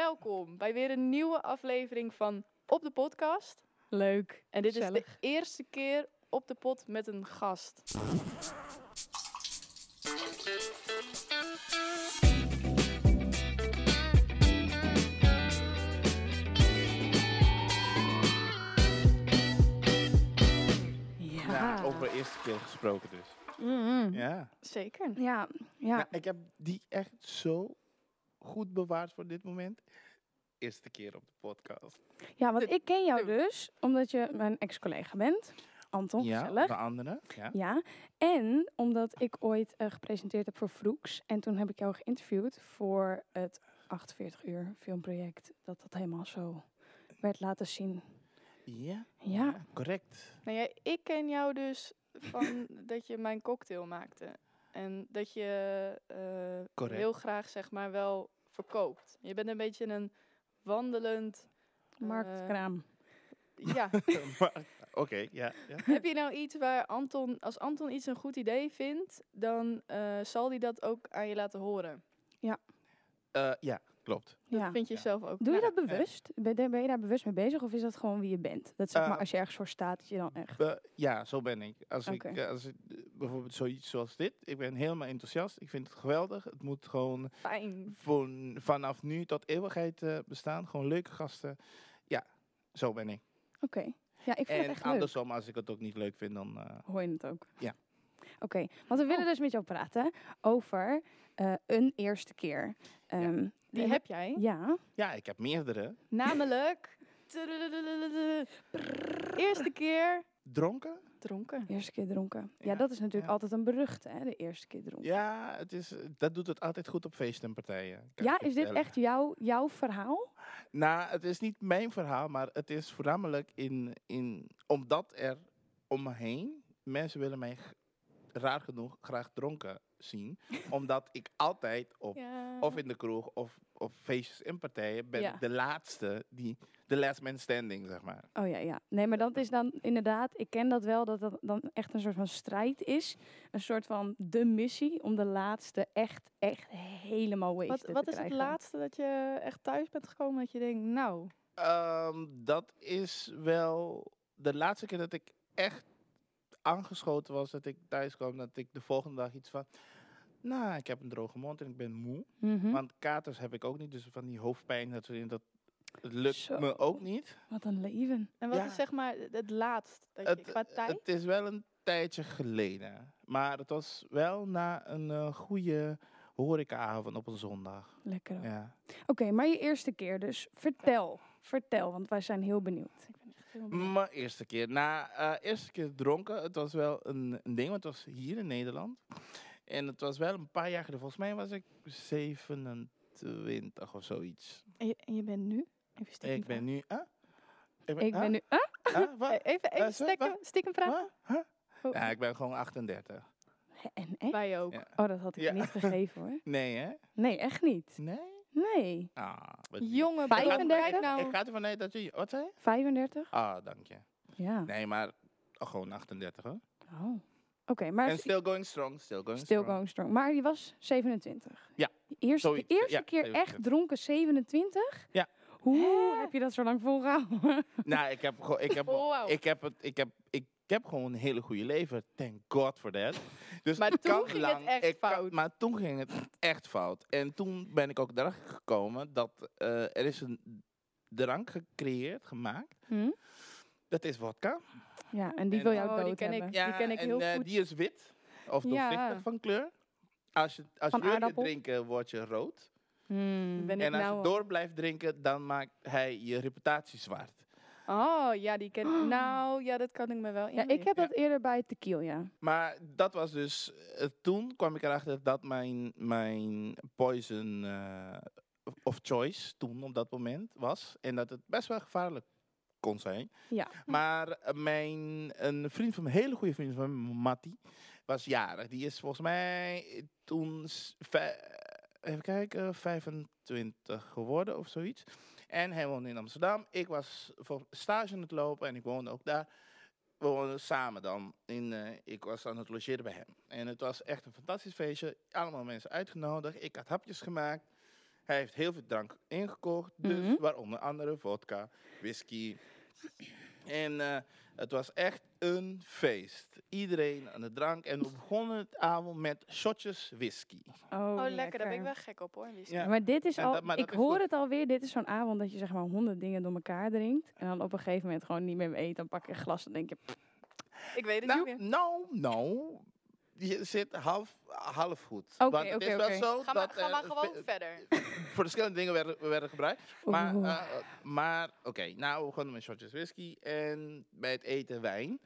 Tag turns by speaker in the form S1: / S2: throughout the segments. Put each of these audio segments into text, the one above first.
S1: Welkom bij weer een nieuwe aflevering van Op de Podcast.
S2: Leuk.
S1: En dit is
S2: Gezellig.
S1: de eerste keer op de pot met een gast.
S2: Ja.
S3: Nou, over eerste keer gesproken dus.
S2: Mm.
S3: Ja.
S1: Zeker.
S2: Ja, ja.
S3: Nou, ik heb die echt zo goed bewaard voor dit moment. Eerste keer op de podcast.
S2: ja, want
S1: Dit-
S2: ik ken jou
S1: dit-
S2: dus omdat je mijn ex-collega bent. Anton, gezellig.
S3: de andere. Ja.
S2: Ja, en omdat ik ooit eh, gepresenteerd heb voor Vroeks. En toen heb ik jou geïnterviewd voor het 48 uur filmproject. Dat dat helemaal zo werd laten zien.
S3: Ja,
S2: Ja,
S3: correct.
S1: Nou ja, ik ken jou dus van dat je mijn cocktail maakte. En dat je eh,
S3: Correct.
S1: heel graag zeg maar wel verkoopt. Je bent een beetje een wandelend... eh,
S2: marktkraam.
S1: ja.
S3: Maar, Oké, ja. ja.
S1: Heb je nou iets waar Anton... Als Anton iets een goed idee vindt, dan eh, zal hij dat ook aan je laten horen.
S3: Eh, ja, klopt.
S2: Ja.
S1: Vind je
S3: Ja.
S1: zelf ook.
S2: Doe je
S1: Nou,
S2: dat bewust? Ben ben- ben je daar bewust mee bezig? Of is dat gewoon wie je bent? Dat zeg
S3: Eh,
S2: maar als je ergens voor staat, dat je dan echt...
S3: Eh, ja, zo ben ik. Als ik,
S2: Oké.
S3: eh, als ik eh, bijvoorbeeld zoiets zoals dit. Ik ben helemaal enthousiast. Ik vind het geweldig. Het moet gewoon
S1: Fijn.
S3: voor, vanaf nu tot eeuwigheid eh, bestaan. Gewoon leuke gasten. Ja, zo ben ik.
S2: Oké. Ja, ik vind het
S3: en
S2: echt leuk.
S3: andersom, als ik het ook niet leuk vind, dan... eh,
S2: Hoor je het ook?
S3: Ja.
S2: Oké, want
S1: Oh.
S2: we willen dus met jou praten over eh, een eerste keer. Ehm,
S1: Die
S2: en-
S1: heb jij.
S2: Ja,
S3: ja, ik heb meerdere.
S1: Namelijk... Eerste keer
S3: Dronken?
S1: dronken.
S2: eerste keer dronken. Ja,
S3: Ja,
S2: dat is natuurlijk
S3: ja.
S2: altijd een beruchte, hè, de eerste keer dronken.
S3: Ja, het is, dat doet het altijd goed op feesten en partijen. kan
S2: Ja,
S3: ik je
S2: is dit
S3: vertellen.
S2: echt jouw, jouw verhaal?
S3: Nou, het is niet mijn verhaal, maar het is voornamelijk in, in, omdat er om me heen mensen willen mij g- raar genoeg graag dronken zien. omdat ik altijd op,
S1: Ja.
S3: of in de kroeg, of op feestjes en partijen ben
S2: Ja.
S3: ik de laatste, die, de last man standing, zeg maar.
S2: Oh ja, ja. Nee, maar dat is dan inderdaad, ik ken dat wel, dat dat dan echt een soort van strijd is. Een soort van de missie om de laatste echt, echt helemaal wasted
S1: Wat, wat
S2: te
S1: is het
S2: krijgen.
S1: laatste dat je echt thuis bent gekomen dat je denkt, nou,
S3: Ehm, dat is wel de laatste keer dat ik echt aangeschoten was, dat ik thuis kwam, dat ik de volgende dag iets van, nou, ik heb een droge mond en ik ben moe.
S2: Mhm.
S3: Want katers heb ik ook niet, dus van die hoofdpijn, dat, soort dingen, dat het lukt
S2: Zo.
S3: me ook niet.
S2: Wat een leven.
S1: en wat
S3: Ja.
S1: is zeg maar het laatst dat je,
S3: Het,
S1: qua tijd?
S3: het is wel een tijdje geleden, maar het was wel na een eh, goede horecaavond op een zondag.
S2: Lekker hoor.
S3: Ja.
S2: Oké, maar je eerste keer dus. Vertel, vertel, want wij zijn heel benieuwd.
S1: Ik ben echt helemaal benieuwd.
S3: Mijn eerste keer. Na eh, eerste keer dronken, het was wel een, een ding, want het was hier in Nederland. En het was wel een paar jaar geleden. Volgens mij was ik 27 of zoiets.
S1: en, je, en je bent nu? Even stiekem
S3: Ik ben
S1: vragen.
S3: nu. ah?
S2: Ik ben nu... Ah,
S3: ah? Ah,
S1: Eh,
S3: wat?
S1: Even, even
S3: Eh, zo,
S1: stiekem,
S3: wa-
S1: stiekem vragen.
S3: Wat? Huh?
S1: Oh,
S3: Ja, ik ben gewoon 38.
S2: en echt?
S1: Wij ook.
S3: Ja.
S2: Oh, dat had ik
S3: Ja.
S2: niet gegeven hoor.
S3: Nee, hè?
S2: Nee, echt niet.
S3: Nee?
S2: Nee.
S3: Ah, wat lief.
S1: Jongen,
S2: Vijf-
S1: Bram, kijk
S2: 35?
S3: Ik
S1: nou.
S3: ga ervan uit dat je. Wat zei je?
S2: 35?
S3: Ah, dank je.
S2: Ja.
S3: Nee, maar oh, gewoon 38 hoor.
S2: Oh. Oké, maar
S3: En still going strong, still going
S2: still
S3: strong.
S2: going strong. Maar je was 27.
S3: Ja,
S2: De eerste, de
S3: zoiets,
S2: eerste
S3: ja,
S2: keer echt
S3: 27.
S2: dronken 27?
S3: Ja.
S2: Hoe heb je dat zo lang volgehouden?
S3: Nou, ik heb, gewoon- ik heb,
S1: Wow.
S3: ik heb, het, ik heb, ik heb gewoon een hele goede leven. Thank God for that. Dus
S1: Maar
S3: ik
S1: toen
S3: kan
S1: ging het
S3: lang-
S1: echt
S3: ik kan-
S1: fout.
S3: maar toen ging het echt fout. En toen ben ik ook erachter gekomen dat eh, er is een drank gecreëerd, gemaakt.
S2: Hm?
S3: Dat is vodka.
S2: Ja, en die
S3: En-
S2: wil jou
S1: oh, die
S2: dood
S1: ken ik.
S2: hebben.
S1: Die ken ik
S3: en
S1: heel
S3: eh,
S1: goed.
S3: die is wit. Of
S1: Ja.
S3: doorzichtig van kleur. Als je, als
S2: Van
S3: je weer
S2: aardappel.
S3: drinken, word je rood.
S2: Hmm.
S1: Ben ik
S3: En als
S1: nou
S3: je
S1: al-
S3: door blijft drinken, dan maakt hij je reputatie zwart.
S1: Oh, ja, die ken Nou, ja, dat kan ik me wel
S2: Ja, ik heb
S3: Ja.
S2: dat eerder bij tequila.
S3: Maar dat was dus. eh, toen kwam ik erachter dat mijn, mijn poison eh, of choice toen op dat moment was. En dat het best wel gevaarlijk kon zijn.
S2: Ja.
S3: Maar eh, mijn, een vriend van me, een hele goede vriend van me, Matti, was jarig. Die is volgens mij toen. s- vij- Even kijken, 25 geworden of zoiets. En hij woonde in Amsterdam. Ik was voor stage aan het lopen en ik woonde ook daar we woonden samen dan. In, eh, ik was aan het logeren bij hem. En het was echt een fantastisch feestje. Allemaal mensen uitgenodigd. Ik had hapjes gemaakt. Hij heeft heel veel drank ingekocht, dus
S2: Mhm.
S3: waaronder andere vodka, whisky. En eh, het was echt een feest. Iedereen aan de drank. En we begonnen het avond met shotjes whisky.
S2: Oh,
S1: Oh, lekker. Daar ben ik wel gek op hoor. whisky.
S3: Ja.
S2: Maar dit is
S3: En
S2: al,
S3: dat- maar
S2: ik
S3: dat is
S2: hoor
S3: goed.
S2: het alweer, dit is zo'n avond dat je zeg maar honderd dingen door elkaar drinkt. En dan op een gegeven moment gewoon niet meer eet. Dan pak je een glas en denk je, pff,
S1: Ik weet het
S3: Nou,
S1: niet meer.
S3: nou, nou. Je zit half, half goed.
S2: Oké,
S3: Want het
S2: oké,
S3: is
S2: oké.
S3: wel zo
S1: Ga maar,
S3: dat eh,
S1: ga
S3: er
S1: maar gewoon
S3: ve-
S1: verder.
S3: verschillende dingen werden, werden gebruikt.
S2: oeh,
S3: Maar, eh, maar oké, nou we begonnen met shotjes whisky en bij het eten wijn.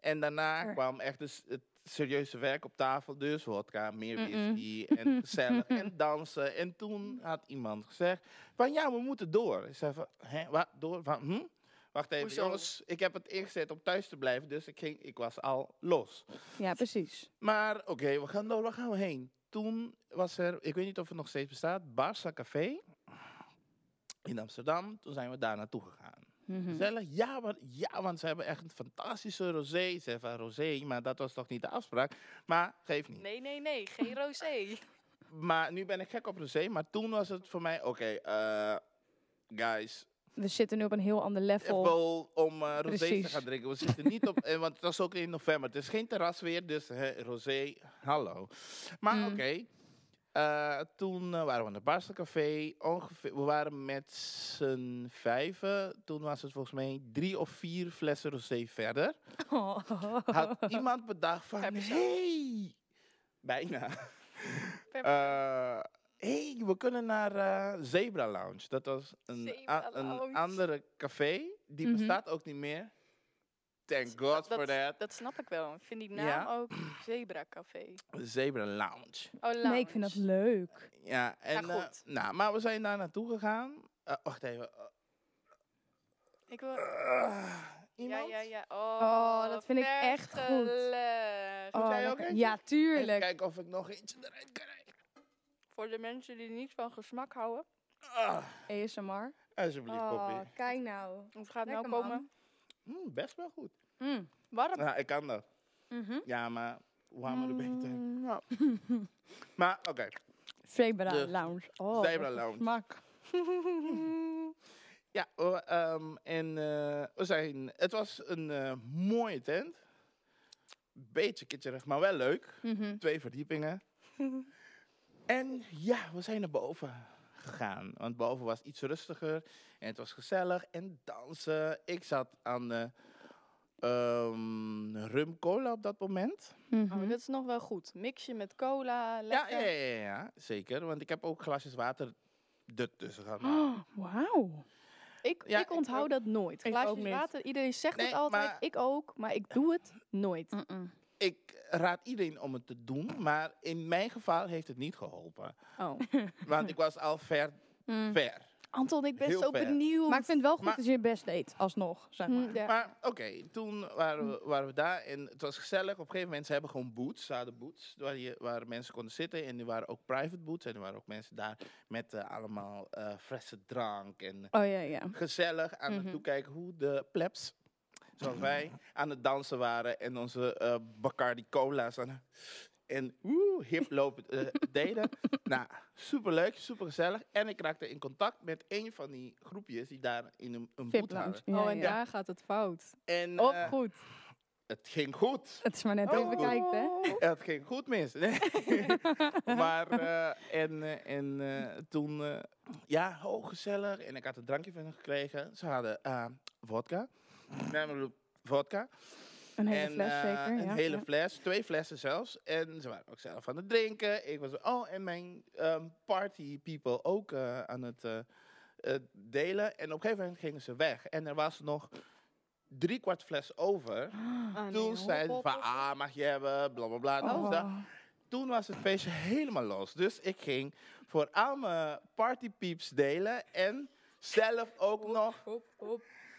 S3: En daarna
S2: Lekker.
S3: kwam echt dus het serieuze werk op tafel. Dus vodka, meer
S2: Mm-mm.
S3: whisky en gezellig en dansen. En toen had iemand gezegd van ja, we moeten door. Ik zei van, hè, wat, door? Van, hm? Wacht even,
S1: Hoezo?
S3: jongens, ik heb het ingezet om thuis te blijven, dus ik, ging, ik was al los.
S2: ja, precies.
S3: Maar oké, we gaan door, waar gaan we heen? Toen was er, ik weet niet of het nog steeds bestaat, Barça Café in Amsterdam. Toen zijn we daar naartoe gegaan.
S2: Mhm.
S3: Gezellig, ja, maar, ja, want ze hebben echt een fantastische rosé. Ze hebben rosé, maar dat was toch niet de afspraak. Maar geef niet.
S1: Nee, nee, nee. Geen rosé.
S3: Maar nu ben ik gek op rosé, maar toen was het voor mij, oké, eh, guys,
S2: We zitten nu op een heel ander level.
S3: wel om eh, rosé te
S2: Precies.
S3: gaan drinken. We zitten niet op, eh, want het was ook in november. Het is geen terras weer, dus hè, rosé, hallo. Maar
S2: Mm.
S3: oké, eh, toen eh, waren we aan de Barça Café. Ongeveer, we waren met z'n vijven. Toen was het volgens mij drie of vier flessen rosé verder.
S2: Oh.
S3: Had iemand bedacht van,
S1: Heb je zo?
S3: hey, bijna.
S1: Per-
S3: Eh, hey, we kunnen naar eh, Zebra Lounge. Dat was een,
S1: Zebra
S3: a- een
S1: Lounge.
S3: andere café. Die
S2: Mhm.
S3: bestaat ook niet meer. Thank God
S1: Dat-
S3: for
S1: dat,
S3: that.
S1: dat snap ik wel. Ik vind die naam
S3: Ja.
S1: ook Zebra Café.
S3: Zebra Lounge.
S1: Oh,
S2: nee, ik vind dat
S1: lounge.
S2: leuk.
S3: Ja, en, eh,
S1: goed.
S3: nou, maar we zijn daar naartoe gegaan. Eh, wacht even.
S1: Ik wil...
S3: Eh,
S1: Ja,
S3: iemand?
S1: ja, ja. Oh,
S2: Oh, dat vind ik echt goed.
S1: vergelegd.
S2: Oh,
S3: jij ook
S2: lekker.
S3: eentje?
S2: ja,
S3: Even
S2: tuurlijk.
S3: kijken of ik nog eentje eruit kan krijgen.
S1: Voor de mensen die niet van gesmak houden.
S3: Ah,
S2: ASMR.
S3: alsjeblieft,
S1: Ah.
S3: Poppy.
S2: Oh, kijk nou.
S1: Het gaat
S2: Lekker,
S1: nou
S2: man.
S1: komen.
S3: Mm, best wel goed.
S2: Mm.
S1: Warm.
S3: Nou, ik kan dat.
S2: Mhm.
S3: Ja, maar warmer de beter.
S2: Mm, nou.
S3: Maar, oké.
S2: Zebra
S3: De
S2: Lounge. Oh,
S3: Zebra
S2: wat een
S3: Lounge.
S2: Smaak.
S3: Ja, we, ehm, en eh, we zijn, het was een eh, mooie tent. Beetje kitscherig, maar wel leuk.
S2: Mhm.
S3: Twee verdiepingen. en ja, we zijn naar boven gegaan. Want boven was iets rustiger en het was gezellig en dansen. Ik zat aan de ehm rum cola op dat moment.
S2: Mhm.
S1: Oh, dat is nog wel goed. Mix je met cola.
S3: Ja,
S1: Lekker.
S3: ja, ja, ja, ja, zeker. Want ik heb ook glasjes water ertussen gehad. Nou, maar-
S2: Oh, Wauw.
S1: Ik,
S3: Ja,
S1: ik
S3: ik
S1: onthoud
S3: ook.
S1: dat nooit.
S2: Ik
S1: Glaasjes
S2: ook niet.
S1: water. Iedereen zegt
S3: Nee,
S1: het altijd.
S3: maar-
S1: Ik ook. Maar ik doe het nooit.
S3: ik raad iedereen om het te doen, maar in mijn geval heeft het niet geholpen.
S1: Oh.
S3: Want ik was al ver,
S2: Mm.
S3: ver.
S1: Anton, ik ben
S3: Heel
S1: zo
S3: ver.
S1: benieuwd.
S2: Maar ik vind het wel goed
S3: Maar-
S2: dat je je best deed, alsnog, zeg maar.
S1: Hm, ja.
S3: Maar oké, toen waren we, waren we daar en het was gezellig. Op een gegeven moment, ze hebben gewoon boots, ze hadden boots waar, je, waar mensen konden zitten. En er waren ook private boots en er waren ook mensen daar met eh, allemaal eh frisse drank. En
S2: Oh ja, ja.
S3: gezellig aan
S2: Mhm.
S3: het toekijken hoe de plebs, zoals wij, aan het dansen waren. En onze eh, Bacardi Cola's aan en woe, hip lopen eh, deden. Nou, superleuk, supergezellig. En ik raakte in contact met een van die groepjes die daar in een, een boot
S2: Vip Lounge.
S3: hadden.
S2: Ja,
S1: oh, en
S2: ja.
S1: daar gaat het fout.
S3: En
S1: Of
S3: eh,
S1: goed.
S3: het ging goed.
S2: Het is maar net
S3: Oh.
S2: hoe je het bekijkt, hè?
S3: Ja, het ging goed mis. Nee. maar, eh, en, eh, en eh, toen, eh, ja, oh, gezellig. En ik had een drankje van hen gekregen. Ze hadden eh, vodka. Namelijk vodka.
S2: Een hele
S3: en,
S2: fles
S3: eh,
S2: zeker.
S3: Een
S2: ja,
S3: hele
S2: ja.
S3: fles, twee flessen zelfs. En ze waren ook zelf aan het drinken. Ik was, oh, en mijn ehm, party people ook eh, aan het eh, eh, delen. En op een gegeven moment gingen ze weg. En er was nog drie kwart fles over.
S2: Ah,
S3: Toen zei ze van, ah, mag je hebben, bla bla bla. dit
S2: Oh.
S3: of dat. Toen was het feestje helemaal los. Dus ik ging voor al mijn partypieps delen en zelf ook nog...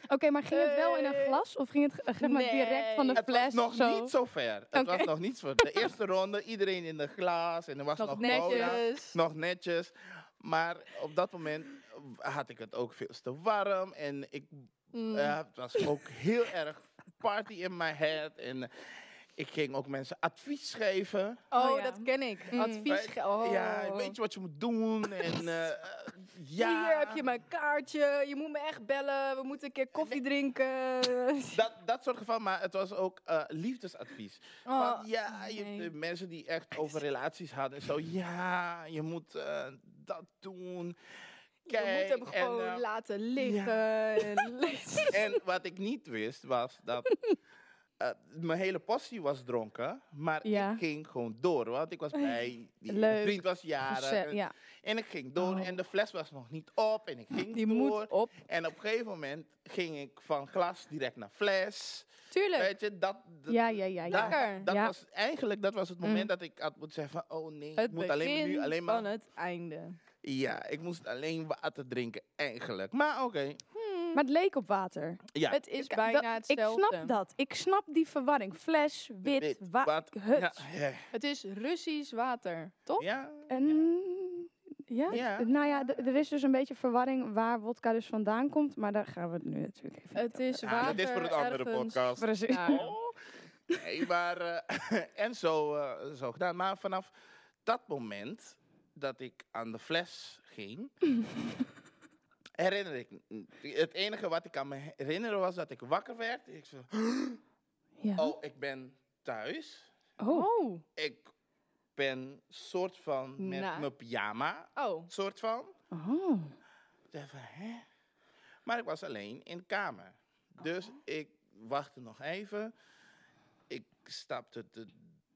S2: Oké, maar ging het wel in een
S1: Eh,
S2: glas of ging het eh, zeg maar, direct van de
S1: nee.
S2: fles?
S3: Het was nog
S2: zo?
S3: niet zo ver. Het
S2: Oké.
S3: was nog niet zo De eerste ronde, iedereen in de glas en er was
S2: Nog
S3: nog, cola.
S1: Netjes.
S3: Nog netjes. Maar op dat moment had ik het ook veel te warm en ik eh,
S1: Mm.
S3: Ja, het was ook heel erg party in my head. En Ik ging ook mensen advies geven.
S1: Oh,
S2: Oh ja.
S1: dat ken ik.
S2: Mm.
S1: Advies. ge- Oh.
S3: Ja, weet je wat je moet doen? En eh, eh, ja.
S1: Hier heb je mijn kaartje. Je moet me echt bellen. We moeten een keer koffie drinken.
S3: Dat, dat soort gevallen, maar het was ook eh, liefdesadvies.
S1: Oh,
S3: Want ja, je,
S1: nee.
S3: de mensen die echt over relaties hadden en zo. Ja, je moet eh, dat doen.
S1: je
S3: Kijk,
S1: moet hem gewoon
S3: en, eh,
S1: laten liggen. en-
S3: En wat ik niet wist was dat eh, mijn hele passie was dronken, maar
S2: Ja.
S3: ik ging gewoon door, want ik was bij die
S2: Leuk.
S3: vriend was jarig
S2: Gezellig,
S3: en,
S2: ja.
S3: en ik ging door
S2: Oh.
S3: en de fles was nog niet op en ik ging
S1: Die
S3: door
S1: moet op.
S3: en op een gegeven moment ging ik van glas direct naar fles,
S1: Tuurlijk.
S3: weet je dat. dat-
S2: Ja, ja, ja, ja.
S3: daar-
S1: Lekker.
S3: dat
S2: Ja.
S3: was eigenlijk dat was het moment dat ik had moeten zeggen van, oh nee,
S1: Mm. Het
S3: ik moet alleen maar nu
S1: begin
S3: alleen
S1: van
S3: maar
S1: het einde.
S3: ja, ik moest alleen water drinken eigenlijk. Maar oké,
S2: Maar het leek op water.
S3: ja.
S1: Het is
S2: K-
S1: bijna
S2: dat-
S1: hetzelfde.
S2: Ik snap dat. Ik snap die verwarring. Fles, wit,
S3: Wit,
S2: wa-
S3: wat-
S2: hut.
S3: ja, eh,
S1: Het is Russisch water, toch?
S3: ja,
S2: En, ja.
S3: Ja.
S2: nou ja, d- er is dus een beetje verwarring waar wodka dus vandaan komt. Maar daar gaan we het nu natuurlijk even niet
S1: Het is
S3: Ja,
S1: water
S3: dat is voor een andere
S1: ergens-
S3: podcast.
S2: over- Precies.
S1: Ja.
S3: Oh. Nee, maar eh, en zo, eh, zo gedaan. Maar vanaf dat moment dat ik aan de fles ging, herinner ik. n- Het enige wat ik kan me herinneren was dat ik wakker werd. Ik zo,
S2: Ja. Oh.
S3: oh, ik ben thuis.
S1: Oh.
S3: Ik ben soort van met
S1: Nou.
S3: mijn pyjama,
S1: Oh.
S3: soort van.
S2: Oh.
S3: Ik dacht van, hè? Maar ik was alleen in de kamer. Dus
S1: Oh.
S3: ik wachtte nog even. Ik stapte de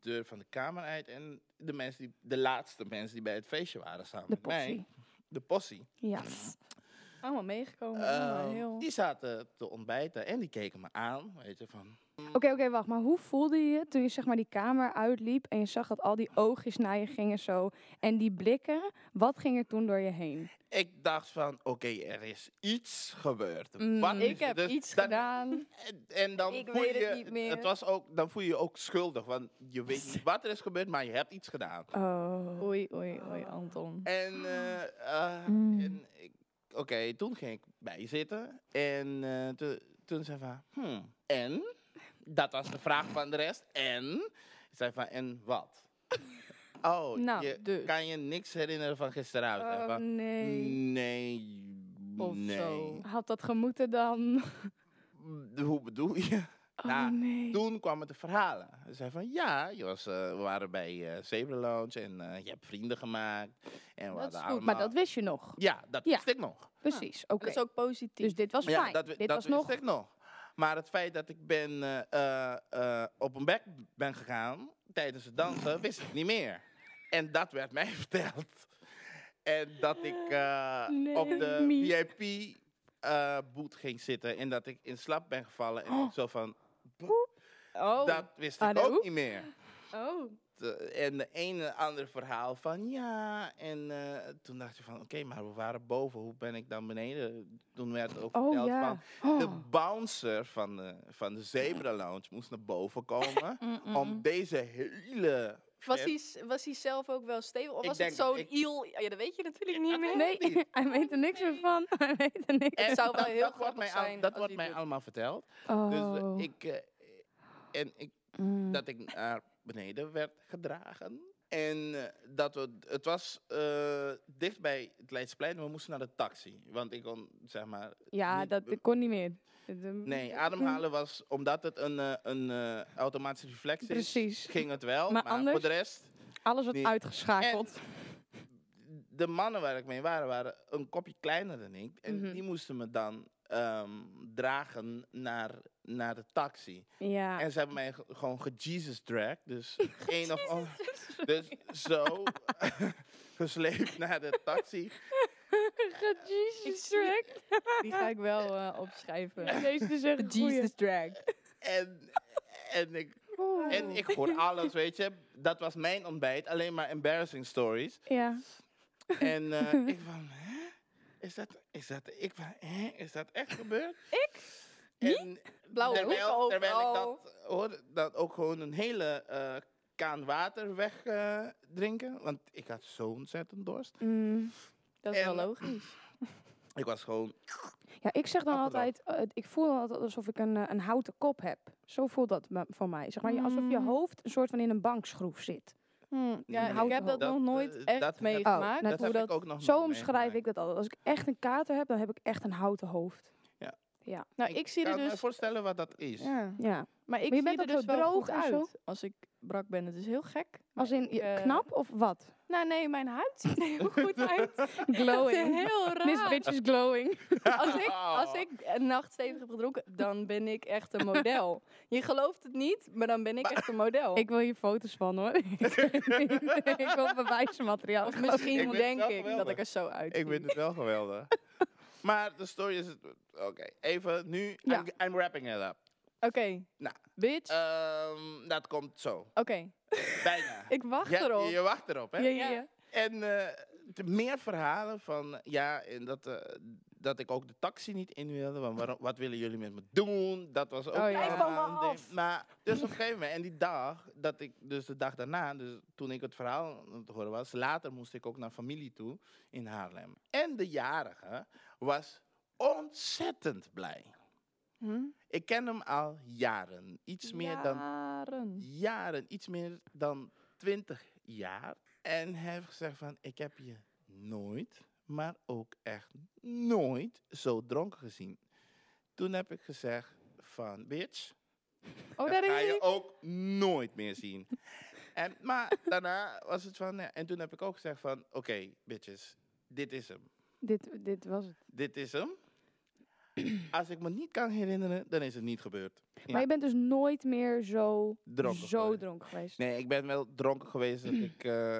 S3: deur van de kamer uit. En de, mensen die, de laatste mensen die bij het feestje waren samen
S2: De
S3: met mij,
S2: possie.
S3: de possie,
S2: Ja.
S1: Allemaal meegekomen. allemaal
S3: ehm,
S1: Oh, heel...
S3: die zaten te ontbijten en die keken me aan. Weet je, van,
S2: Oké, oké, wacht. Maar hoe voelde je je toen je zeg maar die kamer uitliep en je zag dat al die oogjes naar je gingen zo en die blikken? Wat ging er toen door je heen?
S3: ik dacht van, oké, er is iets gebeurd.
S2: Mm.
S3: Wat is
S1: Ik
S3: er?
S1: heb
S3: Dus
S1: iets
S3: dan-
S1: gedaan.
S3: En, en dan
S1: Ik
S3: voel
S1: weet
S3: je,
S1: het niet meer.
S3: het was ook, dan voel je je ook schuldig. Want je weet niet wat er is gebeurd, maar je hebt iets gedaan.
S2: Oh.
S1: Oei, oei, oei, Anton.
S3: En, eh,
S1: Oh.
S3: eh,
S2: Mm.
S3: en ik- oké, toen ging ik bijzitten. En eh, te- toen zei van, hmm, en? Dat was de vraag van de rest. En? Ik zei van, en wat? oh,
S1: Nou,
S3: je,
S1: dus. Ehm,
S3: kan je niks herinneren van gisteravond? Ik zei
S2: Oh,
S3: van, Mm,
S2: nee.
S3: nee.
S1: Of
S3: nee.
S1: zo.
S2: Had dat gemoeten dan?
S3: Mm, Hoe bedoel je?
S2: Oh
S3: Nou,
S2: nee.
S3: Toen kwamen de verhalen. Ze zei van, ja, je was, eh, we waren bij eh Zebra Lounge en eh, je hebt vrienden gemaakt.
S1: Dat is
S3: En we hadden
S1: goed,
S3: allemaal...
S2: Maar dat wist je nog.
S3: Ja, dat
S2: Ja.
S3: wist ik nog.
S2: Precies. Oké.
S1: Dat is ook positief.
S2: Dus dit was
S3: Maar ja,
S2: fijn.
S3: dat, wi-
S2: dit
S3: dat
S2: was
S3: wist
S2: nog.
S3: ik nog. Maar het feit dat ik ben, eh, eh, eh, op een bek ben gegaan tijdens het dansen, wist ik niet meer. En dat werd mij verteld. En dat ik eh,
S2: Nee,
S3: op de
S2: Mie.
S3: VIP-boot eh, ging zitten en dat ik in slaap ben gevallen. En ik zo van,
S1: Oh.
S3: dat wist
S2: Ah,
S3: ik
S2: dat
S3: ook
S2: ook?
S3: niet meer.
S1: oh.
S3: De- eh, en de ene ander verhaal van ja. En eh, toen dacht je van oké, maar we waren boven. Hoe ben ik dan beneden? Toen werd ook
S2: Oh
S3: verteld
S2: ja.
S3: van de bouncer van de, van de Zebra Lounge moest naar boven komen.
S2: Mm,
S3: om deze hele.
S1: Was
S3: flat-
S1: hij, s- was hij zelf ook wel stevig? Of
S3: Ik
S1: was
S3: denk
S1: het
S3: dat
S1: zo'n
S3: ik-
S1: iel? Ja, dat weet je natuurlijk niet meer.
S2: Nee,
S3: niet.
S2: hij weet er niks meer van. Hij weet er niks
S1: Het
S3: En
S1: zou wel
S3: dat-
S1: heel
S3: dat wordt
S1: grappig
S3: mij al-
S1: zijn
S3: Dat
S1: als
S3: wordt
S1: hij
S3: mij
S1: doet.
S3: allemaal verteld.
S2: Oh. mm.
S3: Dus eh, ik. eh, en ik, dat ik naar beneden werd gedragen. En eh, dat we, het was eh, dicht bij het Leidsplein. We moesten naar de taxi. Want ik kon, zeg maar,
S2: ja,
S3: niet-
S2: dat ik kon niet meer. Het, eh,
S3: Nee, ademhalen was, omdat het een, eh, een eh, automatische reflex is,
S2: Precies.
S3: ging het wel.
S2: Maar
S3: Maar, voor
S2: anders-
S3: de rest,
S2: Alles werd
S3: Nee.
S2: uitgeschakeld.
S3: de mannen waar ik mee waren, waren een kopje kleiner dan ik. En
S2: Mhm.
S3: die moesten me dan ehm, dragen naar, naar de taxi.
S2: Ja.
S3: En ze hebben mij ge- gewoon ge-Jesus drag. Dus een of ander. Dus zo gesleept naar de taxi.
S2: Jesus
S1: Die ga ik wel eh, opschrijven.
S2: Deze is echt goeie.
S1: drag.
S3: En, en, ik,
S2: Oh.
S3: en ik hoor
S1: Oh.
S3: alles, weet je. Dat was mijn ontbijt. Alleen maar embarrassing stories.
S2: Ja.
S3: En eh, ik van, hè? Is dat, is dat, ik van, hè? Is dat echt gebeurd? ik? En
S1: Blauwe Oh.
S3: terwijl,
S1: hoeken
S3: terwijl ik
S1: overal.
S3: dat hoorde, dat ook gewoon een hele eh, kaan water wegdrinken. drinken want ik had zo ontzettend dorst.
S2: Mm.
S1: Dat is wel
S3: En-
S1: logisch.
S3: Ik was gewoon,
S2: Ja, Ja, ik zeg dan
S3: Appeldoorn.
S2: altijd, eh, ik voel dan altijd alsof ik een, eh, een houten kop heb. Zo voelt dat me- voor mij. Zeg maar, je- alsof je
S1: Mm.
S2: hoofd een soort van in een bankschroef zit.
S1: Hm, ja,
S2: hout
S1: ik heb dat,
S3: dat,
S1: nog nooit
S3: eh,
S1: echt
S3: dat heb-
S1: meegemaakt. hoe
S2: Oh, dat
S3: heb
S1: dat,
S3: Nou, ik ook nog
S2: Zo
S3: nooit
S2: omschrijf ik
S3: meegemaakt.
S2: dat altijd. Als ik echt een kater heb, dan heb ik echt een houten hoofd.
S1: nou, ik zie
S3: kan
S1: er
S3: me
S1: dus...
S3: voorstellen wat dat is.
S1: Ja.
S2: Ja.
S1: Maar ik
S2: je
S1: zie
S2: bent
S1: er
S2: ook
S1: dus wel
S2: zo droog
S1: goed
S2: en zo?
S1: uit als ik brak ben. Het is heel gek.
S2: Als in je-
S1: eh,
S2: knap of wat?
S1: Nou nee, mijn huid ziet er heel goed uit. Echt heel
S2: This
S1: raar.
S2: bitch is glowing.
S1: Als ik, als ik een nacht stevig heb gedronken, dan ben ik echt een model. Je gelooft het niet, maar dan ben ik echt een model.
S2: Ik wil hier foto's van hoor. ik wil bewijsmateriaal.
S1: of misschien
S3: Ik vind het
S1: denk
S3: wel
S1: ik dat
S3: geweldig.
S1: ik er zo uitzie.
S3: Ik vind het wel geweldig. maar de story is... Oké, even nu.
S1: Ja.
S3: I'm, I'm wrapping it up.
S1: Oké,
S3: Nou.
S1: bitch.
S3: Ehm, dat komt zo.
S1: Oké,
S3: Bijna.
S1: ik wacht
S3: Ja,
S1: erop.
S3: Je wacht erop, hè?
S2: Ja, ja, ja.
S3: En eh, de meer verhalen van... Ja, en dat, eh, dat ik ook de taxi niet in wilde. Want waarom, wat willen jullie met me doen? Dat was ook...
S2: Oh, ja.
S3: allemaal
S2: Blijf van
S1: me
S3: een ding.
S1: af.
S3: Maar dus op een gegeven moment... En die dag, dat ik, dus de dag daarna... Dus toen ik het verhaal aan het horen was... Later moest ik ook naar familie toe in Haarlem. En de jarige was ontzettend blij.
S1: Hm?
S3: Ik ken hem al jaren. Iets meer dan
S1: Jaren.
S3: jaren, iets meer dan 20 jaar. En hij heeft gezegd van, ik heb je nooit, maar ook echt nooit zo dronken gezien. Toen heb ik gezegd van, bitch,
S1: Oh,
S3: dat
S1: daar
S3: ga
S1: is
S3: je
S1: ik.
S3: ook nooit meer zien. En, maar daarna was het van, ja, en toen heb ik ook gezegd van, oké, bitches, dit is hem.
S2: Dit, dit was het.
S3: Dit is hem. Als ik me niet kan herinneren, dan is het niet gebeurd.
S2: Maar je bent dus nooit meer zo
S3: Dronken
S2: zo
S3: geweest.
S2: dronken geweest.
S3: Nee, ik ben wel dronken geweest
S2: Mm.
S3: dat ik eh,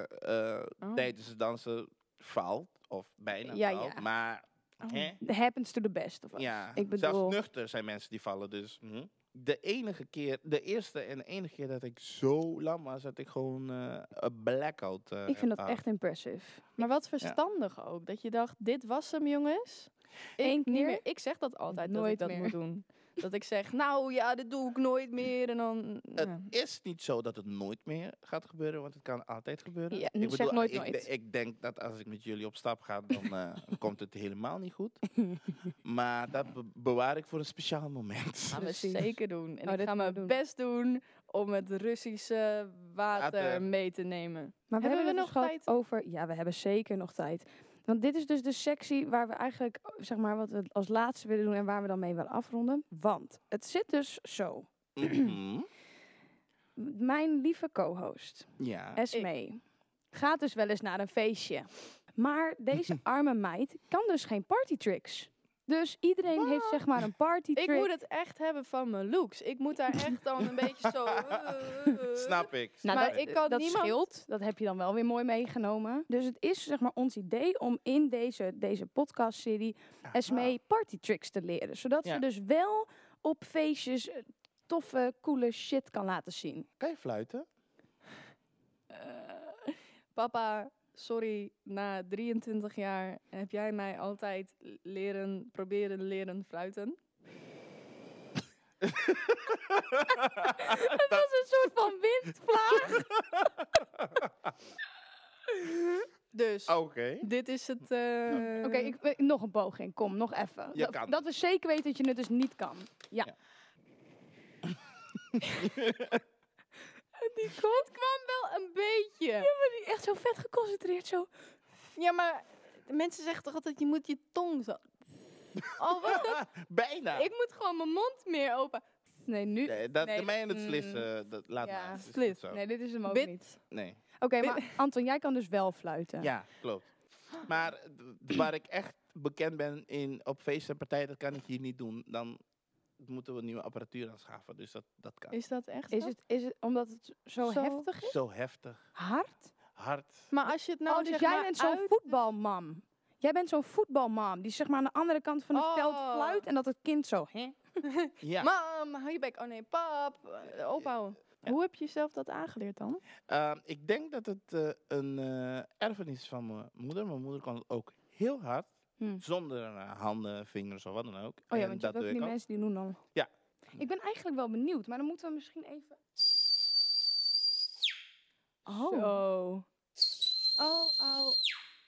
S3: eh, tijdens het dansen faalt. Of bijna
S2: Oh. Ja,
S3: faalt.
S2: ja.
S3: Maar, hè?
S2: It Oh. happens to the best. Of
S3: Ja,
S2: Ik bedoel-
S3: zelfs nuchter zijn mensen die vallen. Dus hm. de enige keer, de eerste en enige keer dat ik zo lam was, dat ik gewoon eh, een blackout eh,
S2: Ik vind
S3: heb
S2: dat
S3: gehad.
S2: echt impressive.
S1: Maar wat verstandig ook. Dat je dacht, dit was hem jongens.
S2: Eén
S1: Ik, niet
S2: keer?
S1: meer, ik zeg dat altijd, dat
S2: Nooit
S1: ik dat
S2: meer.
S1: moet doen. Dat ik zeg, nou ja, dit doe ik nooit meer. En dan, ja.
S3: Het is niet zo dat het nooit meer gaat gebeuren, want het kan altijd gebeuren.
S2: Ja, zeg nooit
S3: ik,
S2: nooit.
S3: Ik denk dat als ik met jullie op stap ga, dan eh, komt het helemaal niet goed. Maar dat be- bewaar ik voor een speciaal moment.
S1: gaan we
S2: Precies.
S1: zeker doen. En
S2: Oh,
S1: ik
S2: dit
S1: ga
S2: gaan we
S1: mijn
S2: doen.
S1: best doen om het Russische water,
S3: Water.
S1: mee te nemen.
S2: Maar we
S1: Hebben
S2: hebben,
S1: we
S2: het
S1: nog
S2: dus gehad
S1: tijd?
S2: over. Ja, we hebben zeker nog tijd. Want dit is dus de sectie waar we eigenlijk, oh, zeg maar, wat we als laatste willen doen en waar we dan mee willen afronden. Want het zit dus zo.
S3: Mhm.
S2: M- Mijn lieve co-host,
S3: Ja.
S2: Esme, gaat dus wel eens naar een feestje. Maar deze arme meid kan dus geen partytricks. Dus iedereen heeft zeg maar een partytrick.
S1: Ik moet het echt hebben van mijn looks. Ik moet daar echt dan een beetje zo... eh,
S3: Snap ik.
S2: Nou,
S3: snap
S1: maar
S3: ik.
S1: ik kan
S2: dat
S1: niemand...
S2: scheelt. Dat heb je dan wel weer mooi meegenomen. Dus het is zeg maar ons idee om in deze, deze podcastserie Esmee partytricks te leren. Zodat
S3: Ja.
S2: ze dus wel op feestjes eh, toffe, coole shit kan laten zien.
S3: Kan je fluiten?
S1: Eh, papa, sorry, na 23 jaar heb jij mij altijd leren, proberen leren fluiten.
S2: Het was een soort van windvlaag.
S1: Dus,
S3: Ah, Oké.
S1: dit is het... eh,
S2: Oké, ik- eh, nog een poging. Kom, nog even.
S3: Je
S2: Dat-
S3: kan.
S2: Dat we zeker weten dat je het dus niet kan. Ja.
S3: Ja.
S2: En die komt
S1: kwam wel een beetje.
S2: echt zo vet geconcentreerd. Zo.
S1: Ja, maar de mensen zeggen toch altijd, je moet je tong zo... Oh, wat dat?
S3: Bijna.
S1: Ik moet gewoon mijn mond meer open.
S2: Nee, nu.
S3: Nee, dat,
S2: nee,
S3: mij en het
S2: mm.
S3: slissen, dat, laat
S2: Ja,
S3: maar. Het is
S1: slis.
S3: goed zo.
S2: Nee, dit is hem ook
S1: Bit.
S2: niet.
S3: Nee.
S2: Oké, maar Anton, jij kan dus wel fluiten.
S3: Ja, klopt. Maar d- waar ik echt bekend ben in, op feesten en partijen, dat kan ik hier niet doen. Dan moeten we nieuwe apparatuur aanschaffen. Dus dat, dat kan.
S1: Is dat echt
S2: Is
S1: zo?
S2: het, is het omdat het zo,
S1: Zo-
S2: heftig is?
S3: Zo heftig,
S2: Hard?
S3: hard.
S1: Maar als je het nou
S2: oh, dus
S1: zeg
S2: jij
S1: maar
S2: bent zo'n
S1: uit-
S2: voetbalmam. Jij bent zo'n voetbalmam die zeg maar aan de andere kant van het veld
S1: Oh.
S2: fluit en dat het kind zo... Hè?
S3: Ja.
S1: Mam, hou je bek. Oh nee, pap. eh, Ophouden. Hoe heb je zelf dat aangeleerd dan?
S3: Ehm, ik denk dat het eh, een eh, erfenis van mijn moeder. Mijn moeder kon het ook heel hard.
S2: Hmm.
S3: Zonder eh, handen, vingers of wat dan ook.
S2: Oh ja,
S3: En
S2: want je hebt ook
S3: doe
S2: van
S3: ik
S2: die
S3: ook.
S2: mensen die doen dan...
S3: Ja.
S2: Ik ben eigenlijk wel benieuwd, maar dan moeten we misschien even... Oh.
S1: Zo. Oh, oh.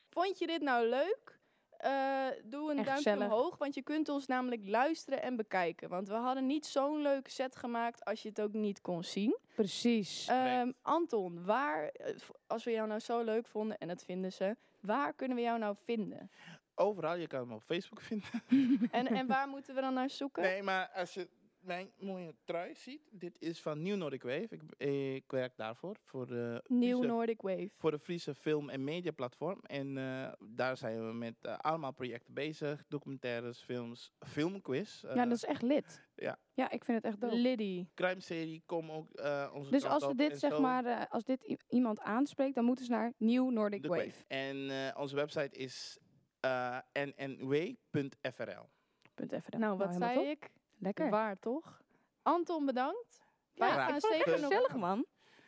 S1: Vond je dit nou leuk? eh, doe een
S2: En
S1: duimpje
S2: gezellig.
S1: omhoog, want je kunt ons namelijk luisteren en bekijken. Want we hadden niet zo'n leuke set gemaakt als je het ook niet kon zien.
S2: Precies.
S3: Correct.
S1: Ehm, Anton, waar, eh, v- als we jou nou zo leuk vonden, en dat vinden ze, waar kunnen we jou nou vinden?
S3: Overal, je kan hem op Facebook vinden.
S1: en, en waar moeten we dan naar zoeken?
S3: Nee, maar als je mijn mooie trui ziet, dit is van New Nordic Wave. Ik, ik werk daarvoor, voor de,
S1: Nieuw
S3: Friese,
S1: Nordic Wave.
S3: voor de Friese Film- en Mediaplatform. En eh, daar zijn we met eh, allemaal projecten bezig. Documentaires, films, filmquiz.
S2: ja,
S3: eh,
S2: dus- dat is echt lid.
S3: ja.
S2: ja, ik vind het echt dope.
S1: Liddy.
S3: Crime-serie, kom ook eh onze
S2: Dus
S3: kant
S2: als we
S3: op
S2: dit
S3: en
S2: zeg
S3: zo.
S2: maar, eh, als dit i- iemand aanspreekt, dan moeten ze naar Nieuw Nordic
S3: The
S2: Wave.
S3: Quave. En eh, onze website is eh nnw.frl.
S2: Punt even daar.
S1: Nou, wat
S2: helemaal
S1: zei
S2: top.
S1: ik?
S2: Lekker.
S1: Waar toch? Anton, bedankt.
S2: Ja,
S1: Wij
S3: Graag
S1: gaan
S2: ik vond het
S1: zeker
S3: gedaan.
S1: nog,
S2: gezellig man.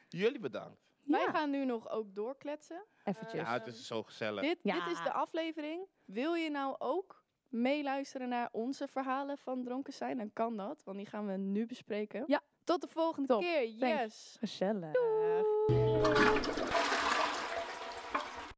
S3: Jullie bedankt.
S1: wij
S2: ja.
S1: gaan nu nog ook doorkletsen.
S2: eventjes.
S3: Ja, het is zo gezellig.
S1: Dit,
S2: Ja.
S1: dit is de aflevering. Wil je nou ook meeluisteren naar onze verhalen van dronken zijn? Dan kan dat, want die gaan we nu bespreken.
S2: Ja.
S1: Tot de volgende
S2: Top.
S1: keer.
S2: Thanks.
S1: Yes.
S2: Gezellig.
S1: Doeg.